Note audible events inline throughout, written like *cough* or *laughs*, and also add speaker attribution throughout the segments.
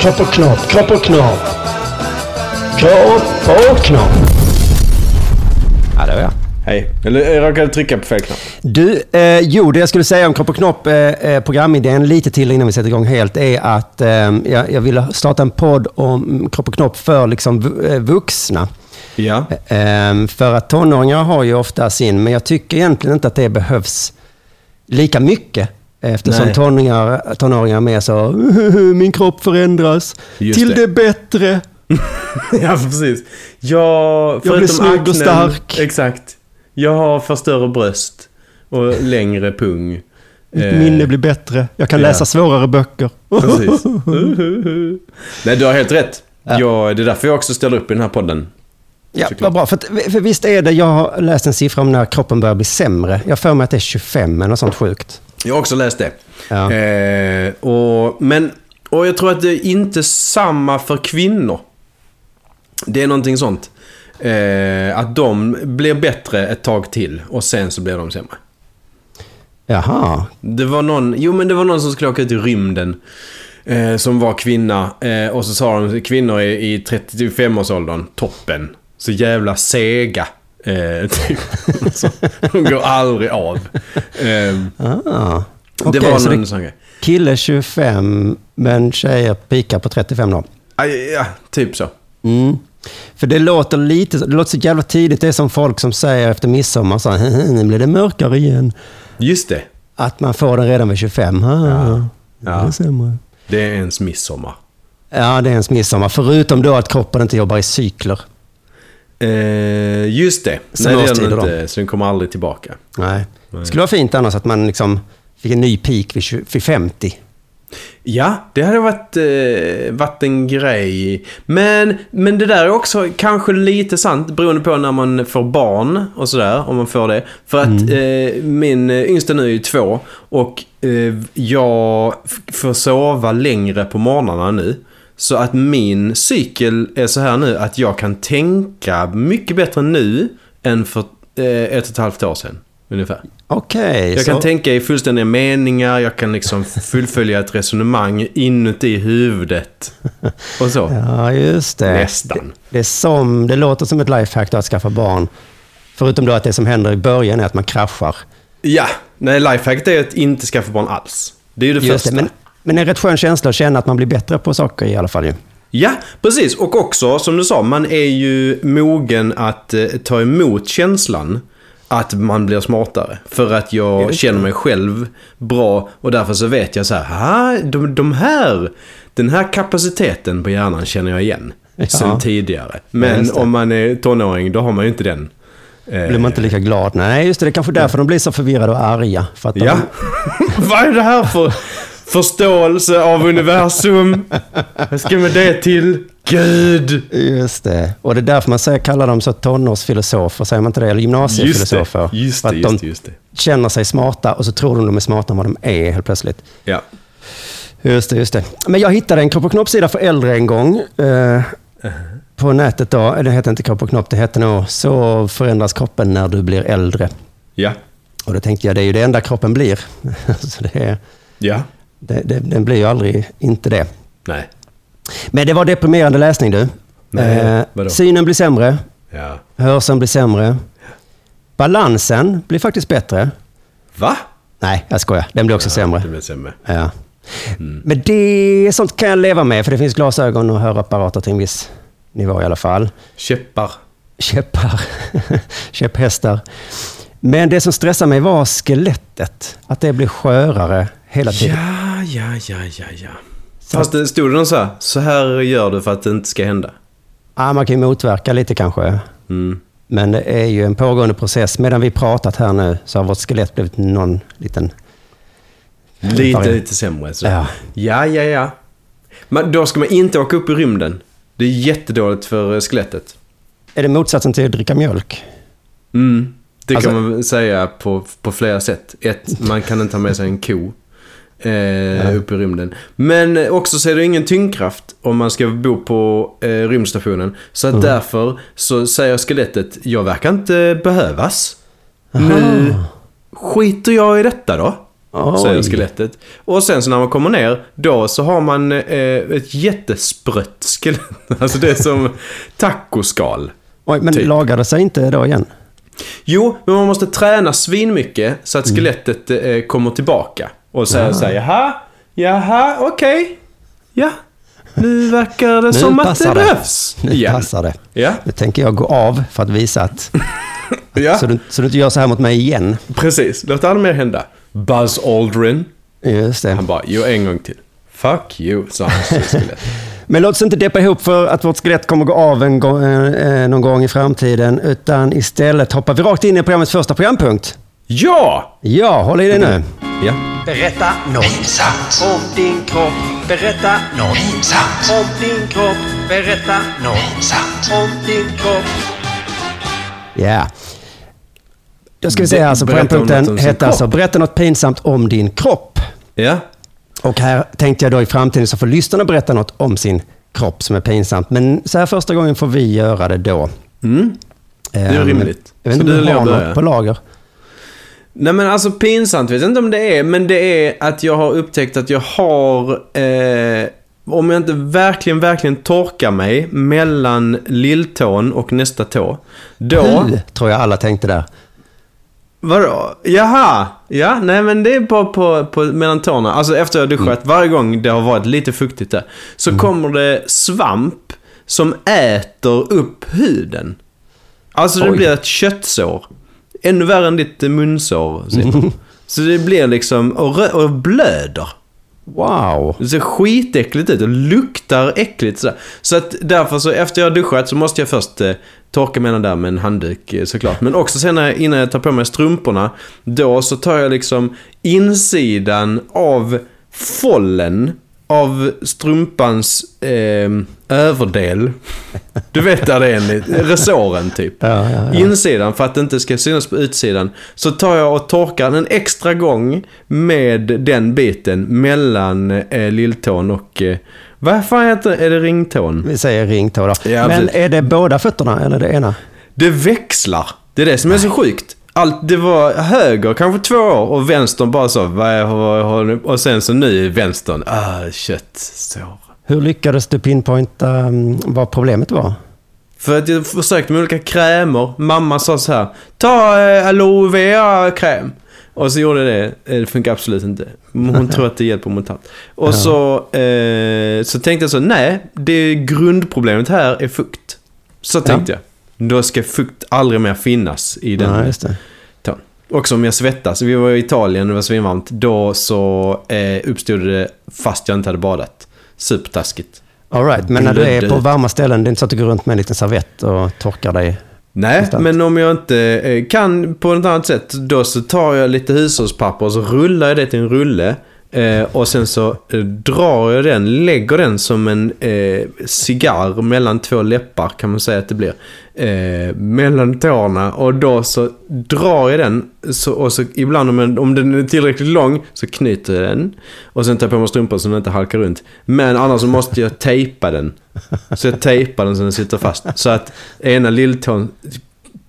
Speaker 1: Kropp och knopp, kropp och knopp. Kropp och knopp.
Speaker 2: Ja, det var jag.
Speaker 3: Hej. Eller jag råkade trycka på fel knapp.
Speaker 2: Du, eh, jo, det jag skulle säga om Kropp och Knopp, eh, eh, programidén lite till innan vi sätter igång helt, är att eh, jag, jag ville starta en podd om Kropp och Knopp för liksom vu- eh, vuxna.
Speaker 3: Ja.
Speaker 2: Ehm, För att tonåringar har ju ofta sin, men jag tycker egentligen inte att det behövs lika mycket. eh, Eftersom
Speaker 3: Nej.
Speaker 2: tonåringar, tonåringar är mer så, min kropp förändras
Speaker 3: Just
Speaker 2: till det.
Speaker 3: det.
Speaker 2: bättre.
Speaker 4: *laughs* Ja, precis. Jag,
Speaker 2: blir
Speaker 4: förutom
Speaker 2: snygg och
Speaker 4: aknen-
Speaker 2: stark.
Speaker 4: Exakt. Jag har för större bröst och längre pung.
Speaker 2: Mitt
Speaker 4: Eh,
Speaker 2: minne blir bättre. Jag kan
Speaker 4: ja.
Speaker 2: läsa svårare böcker.
Speaker 3: *laughs*
Speaker 4: Precis.
Speaker 3: Nej, du har helt rätt. Jag, det är därför jag också ställer upp i den här podden.
Speaker 2: Ja,
Speaker 3: Såklart.
Speaker 2: vad bra. För, att- för visst är det, jag har läst en siffra om när kroppen börjar bli sämre. Jag får mig att det är 25 eller något sånt sjukt.
Speaker 4: Jag har också läst det.
Speaker 2: Ja.
Speaker 4: Eh, och, men, och jag tror att det är inte samma för kvinnor. Det är någonting sånt. Eh, att de blir bättre ett tag till och sen så blir de sämre.
Speaker 2: Jaha.
Speaker 4: Det var någon, jo men det var någon som skulle åka ut i rymden. Eh, som var kvinna. Eh, och så sa de kvinnor i, i 35-årsåldern, toppen. Så jävla sega. Eh, *laughs* typ. så, de går aldrig av. Eh,
Speaker 2: Ah.
Speaker 4: det
Speaker 2: Okej,
Speaker 4: var
Speaker 2: så
Speaker 4: någon
Speaker 2: det,
Speaker 4: sån grej.
Speaker 2: kille 25, men tjejer pikar på 35 då.
Speaker 4: Aj, Ja, typ så.
Speaker 2: Mm. För det låter lite, det låter så jävla tidigt. Det är som folk som säger efter midsommar, så här, nu blir det mörkare igen.
Speaker 4: Just det.
Speaker 2: Att man får den redan vid 25. Ah, ja. Det är
Speaker 4: Ja.
Speaker 2: sämre.
Speaker 4: Det är ens midsommar.
Speaker 2: Ja, det är ens midsommar. Förutom då att kroppen inte jobbar i cykler.
Speaker 4: Eh, just det.
Speaker 2: Sen
Speaker 4: Nej, det gör
Speaker 2: årstider
Speaker 4: den
Speaker 2: då.
Speaker 4: inte, så den kommer aldrig tillbaka.
Speaker 2: Nej. skulle vara fint annars att man liksom fick en ny peak vid, 20, vid 50.
Speaker 4: Ja, det hade varit, eh, varit en grej. Men, men det där är också kanske lite sant beroende på när man får barn och sådär. Om man får det. För att eh, min eh, yngsta nu är ju två och eh, jag f- får sova längre på morgnarna nu. Så att min cykel är så här nu att jag kan tänka mycket bättre nu än för eh, ett och ett halvt år sedan. Ungefär.
Speaker 2: Okej,
Speaker 4: Jag
Speaker 2: så
Speaker 4: kan tänka i fullständiga meningar, jag kan liksom *laughs* fullfölja ett resonemang inuti huvudet. *laughs* Och så.
Speaker 2: Ja, just det.
Speaker 4: Nästan.
Speaker 2: Det, är som, det låter som ett lifehack då att skaffa barn. Förutom då att det som händer i början är att man kraschar.
Speaker 4: Ja, nej lifehacket är att inte skaffa barn alls. Det är ju det
Speaker 2: Just
Speaker 4: första.
Speaker 2: det, men, men en rätt skön känsla att känna att man blir bättre på saker i alla fall ju.
Speaker 4: Ja, precis. Och också, som du sa, man är ju mogen att eh, ta emot känslan att man blir smartare. För att jag känner mig själv bra och därför så vet jag så här, "Ah, de, de här, den här kapaciteten på hjärnan känner jag igen.
Speaker 2: Ja.
Speaker 4: Sen tidigare.
Speaker 2: Ja,
Speaker 4: Men
Speaker 2: just det.
Speaker 4: om man är tonåring, då har man ju inte den. Eh,
Speaker 2: Blir man inte lika glad? Nej, just det. Det är kanske därför de blir så förvirrade och arga. För att de,
Speaker 4: Ja. *laughs* Vad är det här för förståelse av universum? Vad ska med det till? Gud!
Speaker 2: Just det. Och det är därför man säger, kallar dem så tonårsfilosofer, säger man inte det? Eller gymnasiefilosofer.
Speaker 4: Just
Speaker 2: för
Speaker 4: det,
Speaker 2: att
Speaker 4: just det,
Speaker 2: de
Speaker 4: just det.
Speaker 2: känner sig smarta och så tror de de är smartare än vad de är helt plötsligt.
Speaker 4: Ja.
Speaker 2: Just det, just det. Men jag hittade en Kropp och knopp-sida för äldre en gång. Eh, på nätet då. Det hette inte Kropp och knopp, det hette nog Så förändras kroppen när du blir äldre.
Speaker 4: Ja.
Speaker 2: Och då tänkte jag, det är ju det enda kroppen blir. *laughs* så det är,
Speaker 4: Ja.
Speaker 2: det, det, den blir ju aldrig inte det.
Speaker 4: Nej.
Speaker 2: Men det var deprimerande läsning du. Eh,
Speaker 4: Nej, vadå?
Speaker 2: synen blir sämre,
Speaker 4: Ja.
Speaker 2: hörseln blir sämre. Balansen blir faktiskt bättre.
Speaker 4: Va?
Speaker 2: Nej, jag skojar. Den blir också sämre.
Speaker 4: Det blir sämre.
Speaker 2: Ja.
Speaker 4: Mm.
Speaker 2: Men det sånt kan jag leva med, för det finns glasögon och hörapparater till en viss nivå i alla fall.
Speaker 4: Käppar.
Speaker 2: Käppar, *laughs* käpphästar. Men det som stressar mig var skelettet. Att det blir skörare hela tiden.
Speaker 4: Ja, ja, ja, ja, ja. Fast det stod det någon så här, så här gör du för att det inte ska hända. Mm.
Speaker 2: Ja, man kan ju motverka lite kanske. Men det är ju en pågående process. Medan vi pratat här nu så har vårt skelett blivit någon liten...
Speaker 4: Lite, lite sämre. Så.
Speaker 2: Ja.
Speaker 4: ja, ja, ja. Men då ska man inte åka upp i rymden. Det är jättedåligt för eh, skelettet.
Speaker 2: Är det motsatsen till att dricka mjölk?
Speaker 4: Mm. Det
Speaker 2: Alltså-
Speaker 4: kan man väl säga på, på flera sätt. Ett, man kan inte ha med sig en ko eh, upp i rymden. Men eh, också så är det ingen tyngdkraft om man ska bo på eh, rymdstationen. Så
Speaker 2: Mm.
Speaker 4: att därför så säger skelettet, jag verkar inte behövas. Nu skiter jag i detta då.
Speaker 2: Oj.
Speaker 4: säger skelettet. Och sen så när man kommer ner, då så har man eh, ett jättesprött skelett. *laughs* Alltså det är som tacoskal.
Speaker 2: Oj, men
Speaker 4: Typ.
Speaker 2: lagar det sig inte då igen?
Speaker 4: Jo, men man måste träna svinmycket så
Speaker 2: Mm.
Speaker 4: att skelettet eh, kommer tillbaka. Och säger så här, jaha, jaha, okej. Ja, nu verkar det som att det,
Speaker 2: passar det.
Speaker 4: behövs.
Speaker 2: Nu
Speaker 4: igen."
Speaker 2: passar det.
Speaker 4: Ja,
Speaker 2: Nu tänker jag gå av för att visa att...
Speaker 4: ja.
Speaker 2: Så, du, så du inte gör så här mot mig igen.
Speaker 4: precis. Låt aldrig mer hända. Buzz Aldrin.
Speaker 2: Just det.
Speaker 4: Han bara, jo en gång till. Fuck you, sa han
Speaker 2: *laughs*
Speaker 4: till skelettet.
Speaker 2: Men låt oss inte deppa ihop för att vårt skelett kommer gå av en gång, eh, eh, någon gång i framtiden. Utan istället hoppar vi rakt in i programmets första programpunkt.
Speaker 4: Ja!
Speaker 2: Ja, håll i dig
Speaker 4: Mm.
Speaker 2: nu.
Speaker 4: Ja.
Speaker 5: Berätta något pinsamt om din kropp. Berätta något pinsamt om din kropp. Berätta något pinsamt om din kropp.
Speaker 2: Ja. Då ska vi se här, alltså
Speaker 4: Berätta om något
Speaker 2: programpunkten
Speaker 4: om sin
Speaker 2: heter alltså
Speaker 4: kropp.
Speaker 2: “Berätta något pinsamt om din kropp”.
Speaker 4: Ja.
Speaker 2: Och här tänkte jag då i framtiden så får lyssnarna berätta något om sin kropp som är pinsamt. Men så här första gången får vi göra det då. Det
Speaker 4: Mm. är rimligt.
Speaker 2: Jag vet
Speaker 4: Så
Speaker 2: inte
Speaker 4: du
Speaker 2: om du
Speaker 4: eller
Speaker 2: har
Speaker 4: jag
Speaker 2: något
Speaker 4: börjar?
Speaker 2: på lager.
Speaker 4: Nej men alltså pinsamt vet jag inte om det är, men det är att jag har upptäckt att jag har, eh, om jag inte verkligen, verkligen torkar mig mellan lilltån och nästa tå, då...
Speaker 2: Hu, tror jag alla tänkte där.
Speaker 4: Vadå? Jaha! Ja, nej men det är bara på, på mellan tårna. Alltså efter jag duschat, varje gång det har varit lite fuktigt där, så kommer det svamp som äter upp huden. Alltså det
Speaker 2: Oj.
Speaker 4: blir ett köttsår. Ännu värre än ditt eh, munsår,
Speaker 2: Mhm.
Speaker 4: Simon. Så det blir liksom, och, rö- och blöder.
Speaker 2: Wow.
Speaker 4: Det ser skitäckligt ut och luktar äckligt sådär. Så att därför så efter jag har duschat så måste jag först eh, torka mig den där med en handduk eh, såklart. Men också sen när, innan jag tar på mig strumporna, då så tar jag liksom insidan av follen av strumpans eh, överdel. Du vet där det är en liten- resåren typ. Insidan för att det inte ska synas på utsidan. Så tar jag och torkar den en extra gång med den biten mellan eh, lilltån och... Eh, vad fan heter det? Är det ringtån?
Speaker 2: Vi säger ringtå då.
Speaker 4: Ja,
Speaker 2: Men
Speaker 4: precis.
Speaker 2: är det båda fötterna eller det ena?
Speaker 4: Det växlar. Det är det som är så sjukt. Allt, det var höger kanske två år och vänstern bara så, vad vad har du? Och sen så nu är vänstern, ah, köttsår.
Speaker 2: Hur lyckades du pinpointa mm, vad problemet var?
Speaker 4: För att jag försökte med olika krämer. Mamma sa så här. Ta eh, aloe vera-kräm. Och så gjorde jag det. Eh, Det funkar absolut inte.
Speaker 2: *laughs*
Speaker 4: Men Hon tror att det hjälper mot allt. Och så, eh, så tänkte jag så. Nej, det grundproblemet här är fukt. Så tänkte jag. Då ska fukt aldrig mer finnas i den
Speaker 2: Ja, just det.
Speaker 4: tån. Också om jag svettas. Vi var i Italien och det var svinvarmt. Då så eh, uppstod det fast jag inte hade badat. Supertaskigt.
Speaker 2: All right, men när du är på
Speaker 4: Blödde.
Speaker 2: varma ställen, det är inte så att du går runt med en liten servett och torkar dig?
Speaker 4: Nej,
Speaker 2: Konstant.
Speaker 4: men om jag inte eh, kan på något annat sätt, då så tar jag lite hushållspapper och så rullar jag det till en rulle. Eh, och sen så eh, drar jag den, lägger den som en eh, cigarr mellan två läppar kan man säga att det blir. Eh, mellan tårna och då så drar jag den så, och så ibland om, en, om den är tillräckligt lång så knyter jag den. Och sen tar jag på mig strumpan så den inte halkar runt. Men annars så måste jag tejpa den. Så jag tejpar den så den sitter fast. Så att ena lilltån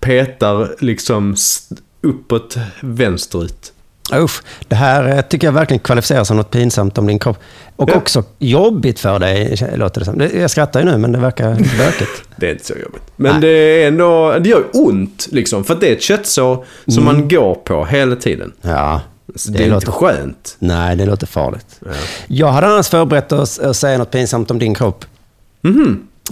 Speaker 4: petar liksom s- uppåt vänsterut.
Speaker 2: Usch, det här eh, tycker jag verkligen kvalificerar som något pinsamt om din kropp. Och
Speaker 4: Ja.
Speaker 2: också jobbigt för dig, låter det som. Det- Jag skrattar ju nu, men det verkar bökigt.
Speaker 4: Det är inte så jobbigt. Men det är ändå, det gör ont liksom. För att det är ett köttsår som man går på hela tiden.
Speaker 2: Ja,
Speaker 4: Så Mm. det, är inte skönt.
Speaker 2: Nej, det låter farligt. Jag hade annars förberett oss att säga något pinsamt om din kropp.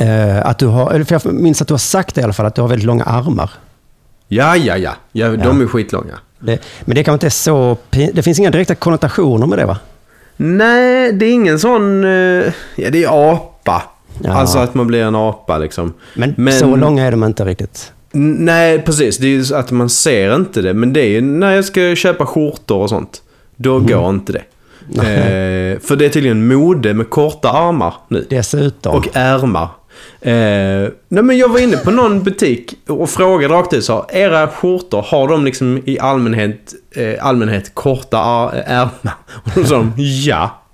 Speaker 2: Eh, att du har, eller för jag minns att du har sagt det i alla fall, att du har väldigt långa armar.
Speaker 4: Ja, ja, ja. ja de är skitlånga.
Speaker 2: Det, men det kanske inte är så pin- Det finns inga direkta konnotationer med det, va?
Speaker 4: Nej, det är ingen sån... eh, Ja, det är apa.
Speaker 2: Ja.
Speaker 4: Alltså att man blir en apa liksom.
Speaker 2: Men, så långa är de inte riktigt.
Speaker 4: N- Nej, precis. Det är ju så att man ser inte det. Men det är ju när jag ska köpa skjortor och sånt. Då
Speaker 2: Mm.
Speaker 4: går inte det. Eh, för det är tydligen mode med korta armar nu.
Speaker 2: Dessutom.
Speaker 4: Och ärmar. Eh, nej men jag var inne på någon butik och frågade rakt ut så här, Era skjortor, har de liksom i allmänhet, eh, allmänhet korta ar- eh, ärmar? *laughs* Och då sa de ja. *laughs*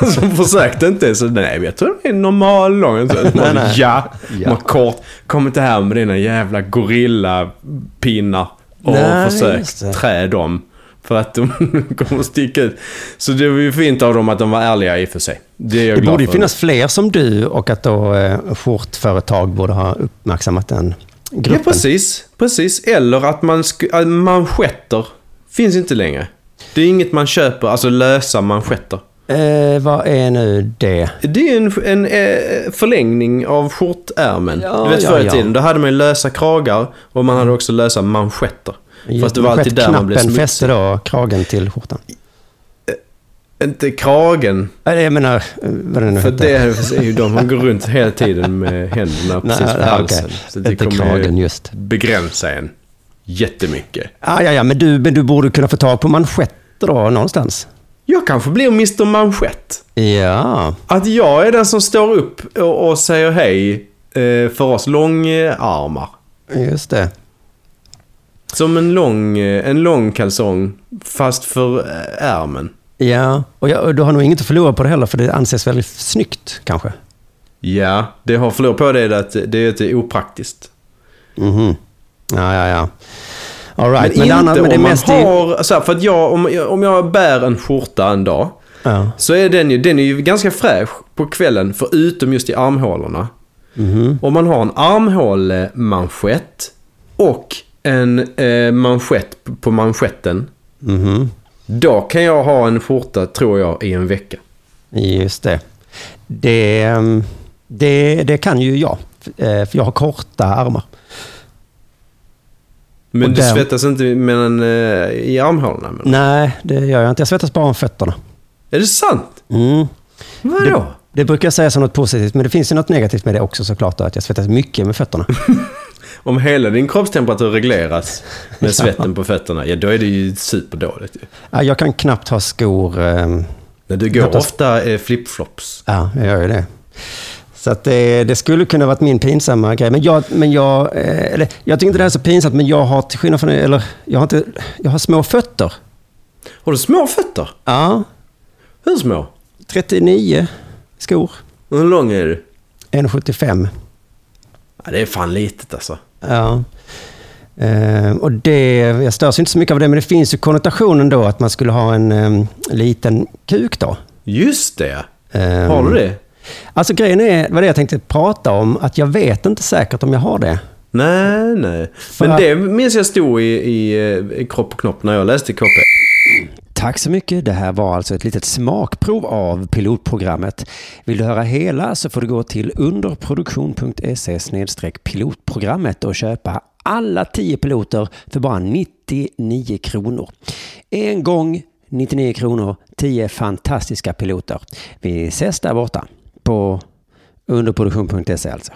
Speaker 4: Alltså hon försökte inte. Så nej, men jag tror det är normal
Speaker 2: *laughs*
Speaker 4: lång. Så, man, ja. Man kort. Kom inte här med dina jävla gorillapinnar och
Speaker 2: Nej, just det.
Speaker 4: försök trä dem. För att de *laughs* kommer att sticka ut. Så det var ju fint av dem att de var ärliga i och för sig. Det är jag
Speaker 2: Det
Speaker 4: glad
Speaker 2: borde ju
Speaker 4: för.
Speaker 2: finnas fler som du och att då eh, skjortföretag borde ha uppmärksammat den
Speaker 4: Ja,
Speaker 2: gruppen.
Speaker 4: precis. Precis. Eller att man... Sk- äh, manschetter finns inte längre. Det är inget man köper, alltså lösa manschetter.
Speaker 2: Eh, vad är nu det?
Speaker 4: Det är en, en eh, förlängning av skjortärmen.
Speaker 2: Ja,
Speaker 4: du vet
Speaker 2: ja,
Speaker 4: förr i
Speaker 2: ja.
Speaker 4: tiden, då hade man ju lösa kragar och man hade också lösa manschetter. Fast det var alltid där man blev
Speaker 2: Knappen
Speaker 4: smutsig.
Speaker 2: fäste då kragen till skjortan.
Speaker 4: Inte kragen,
Speaker 2: Nej, Jag menar, eh, vad det nu
Speaker 4: för
Speaker 2: hette.
Speaker 4: det är ju de som går runt hela tiden med händerna
Speaker 2: Nej,
Speaker 4: precis på
Speaker 2: nej,
Speaker 4: halsen.
Speaker 2: okej.
Speaker 4: Så det
Speaker 2: Inte
Speaker 4: kommer
Speaker 2: kragen,
Speaker 4: ju
Speaker 2: just.
Speaker 4: begränsa en jättemycket.
Speaker 2: Ah, ja, ja, men du, men du borde kunna få tag på manschetter då, någonstans.
Speaker 4: Jag kanske blir Mr Manschett.
Speaker 2: Ja.
Speaker 4: Att jag är den som står upp och, och säger hej eh, för oss långarmar.
Speaker 2: Just det.
Speaker 4: Som en lång, eh, en lång kalsong, fast för eh, ärmen.
Speaker 2: Ja, och, jag, och du har nog inget att förlora på det heller, för det anses väldigt snyggt kanske.
Speaker 4: Ja, det har förlorat på det att det är lite opraktiskt.
Speaker 2: Mhm. Ja, ja, ja. All right.
Speaker 4: Men,
Speaker 2: det
Speaker 4: inte
Speaker 2: andra-
Speaker 4: om man
Speaker 2: i-
Speaker 4: har... Så här, för att jag, om, jag- om jag bär en skjorta en dag,
Speaker 2: Ja.
Speaker 4: så är den ju, den är ju ganska fräsch på kvällen, förutom just i armhålorna.
Speaker 2: Mhm.
Speaker 4: Om man har en armhålemanschett och en eh, manschett p- på manschetten,
Speaker 2: Mhm.
Speaker 4: då kan jag ha en skjorta, tror jag, i en vecka.
Speaker 2: Just det. Det, ehm, det. det kan ju jag, eh, för jag har korta armar.
Speaker 4: Men
Speaker 2: Och
Speaker 4: du
Speaker 2: den-
Speaker 4: svettas inte mellan, eh, i armhålorna? Men.
Speaker 2: Nej, det gör jag inte. Jag svettas bara om fötterna.
Speaker 4: Är det sant?
Speaker 2: Mm.
Speaker 4: Vadå?
Speaker 2: Det brukar jag säga som något positivt, men det finns ju något negativt med det också såklart, då, att jag svettas mycket med fötterna.
Speaker 4: Om hela din kroppstemperatur regleras med svetten på fötterna, ja då är det ju superdåligt. ju.
Speaker 2: Ja, jag kan knappt ha skor. ehm,
Speaker 4: Men du går
Speaker 2: Knappt ens-
Speaker 4: ofta eh, flipflops.
Speaker 2: Ja, jag gör ju det. Så att det, det skulle kunna varit min pinsamma grej. Men jag, men jag, eh, eller, jag tycker inte det här är så pinsamt, men jag har till skillnad från eller jag har, inte, jag har små fötter.
Speaker 4: Har du små fötter?
Speaker 2: Ja,
Speaker 4: Hur små?
Speaker 2: 39 skor.
Speaker 4: Och Hur lång är du?
Speaker 2: 1,75.
Speaker 4: Ja, det är fan litet alltså.
Speaker 2: Ja. Eh, och det, jag störs ju inte så mycket av det, men det finns ju konnotationen då att man skulle ha en eh, liten kuk då.
Speaker 4: Just det!
Speaker 2: Ehm,
Speaker 4: Har du det?
Speaker 2: Alltså grejen är, det var det jag tänkte prata om, att jag vet inte säkert om jag har det.
Speaker 4: Nej, nej. Men
Speaker 2: att-
Speaker 4: det minns jag stod i, i, eh, i kropp och knopp när jag läste KP.
Speaker 2: Tack så mycket. Det här var alltså ett litet smakprov av pilotprogrammet. Vill du höra hela så får du gå till underproduktion.se pilotprogrammet och köpa alla 10 piloter för bara 99 kronor. En gång 99 kronor, 10 fantastiska piloter. Vi ses där borta på underproduktion.se alltså.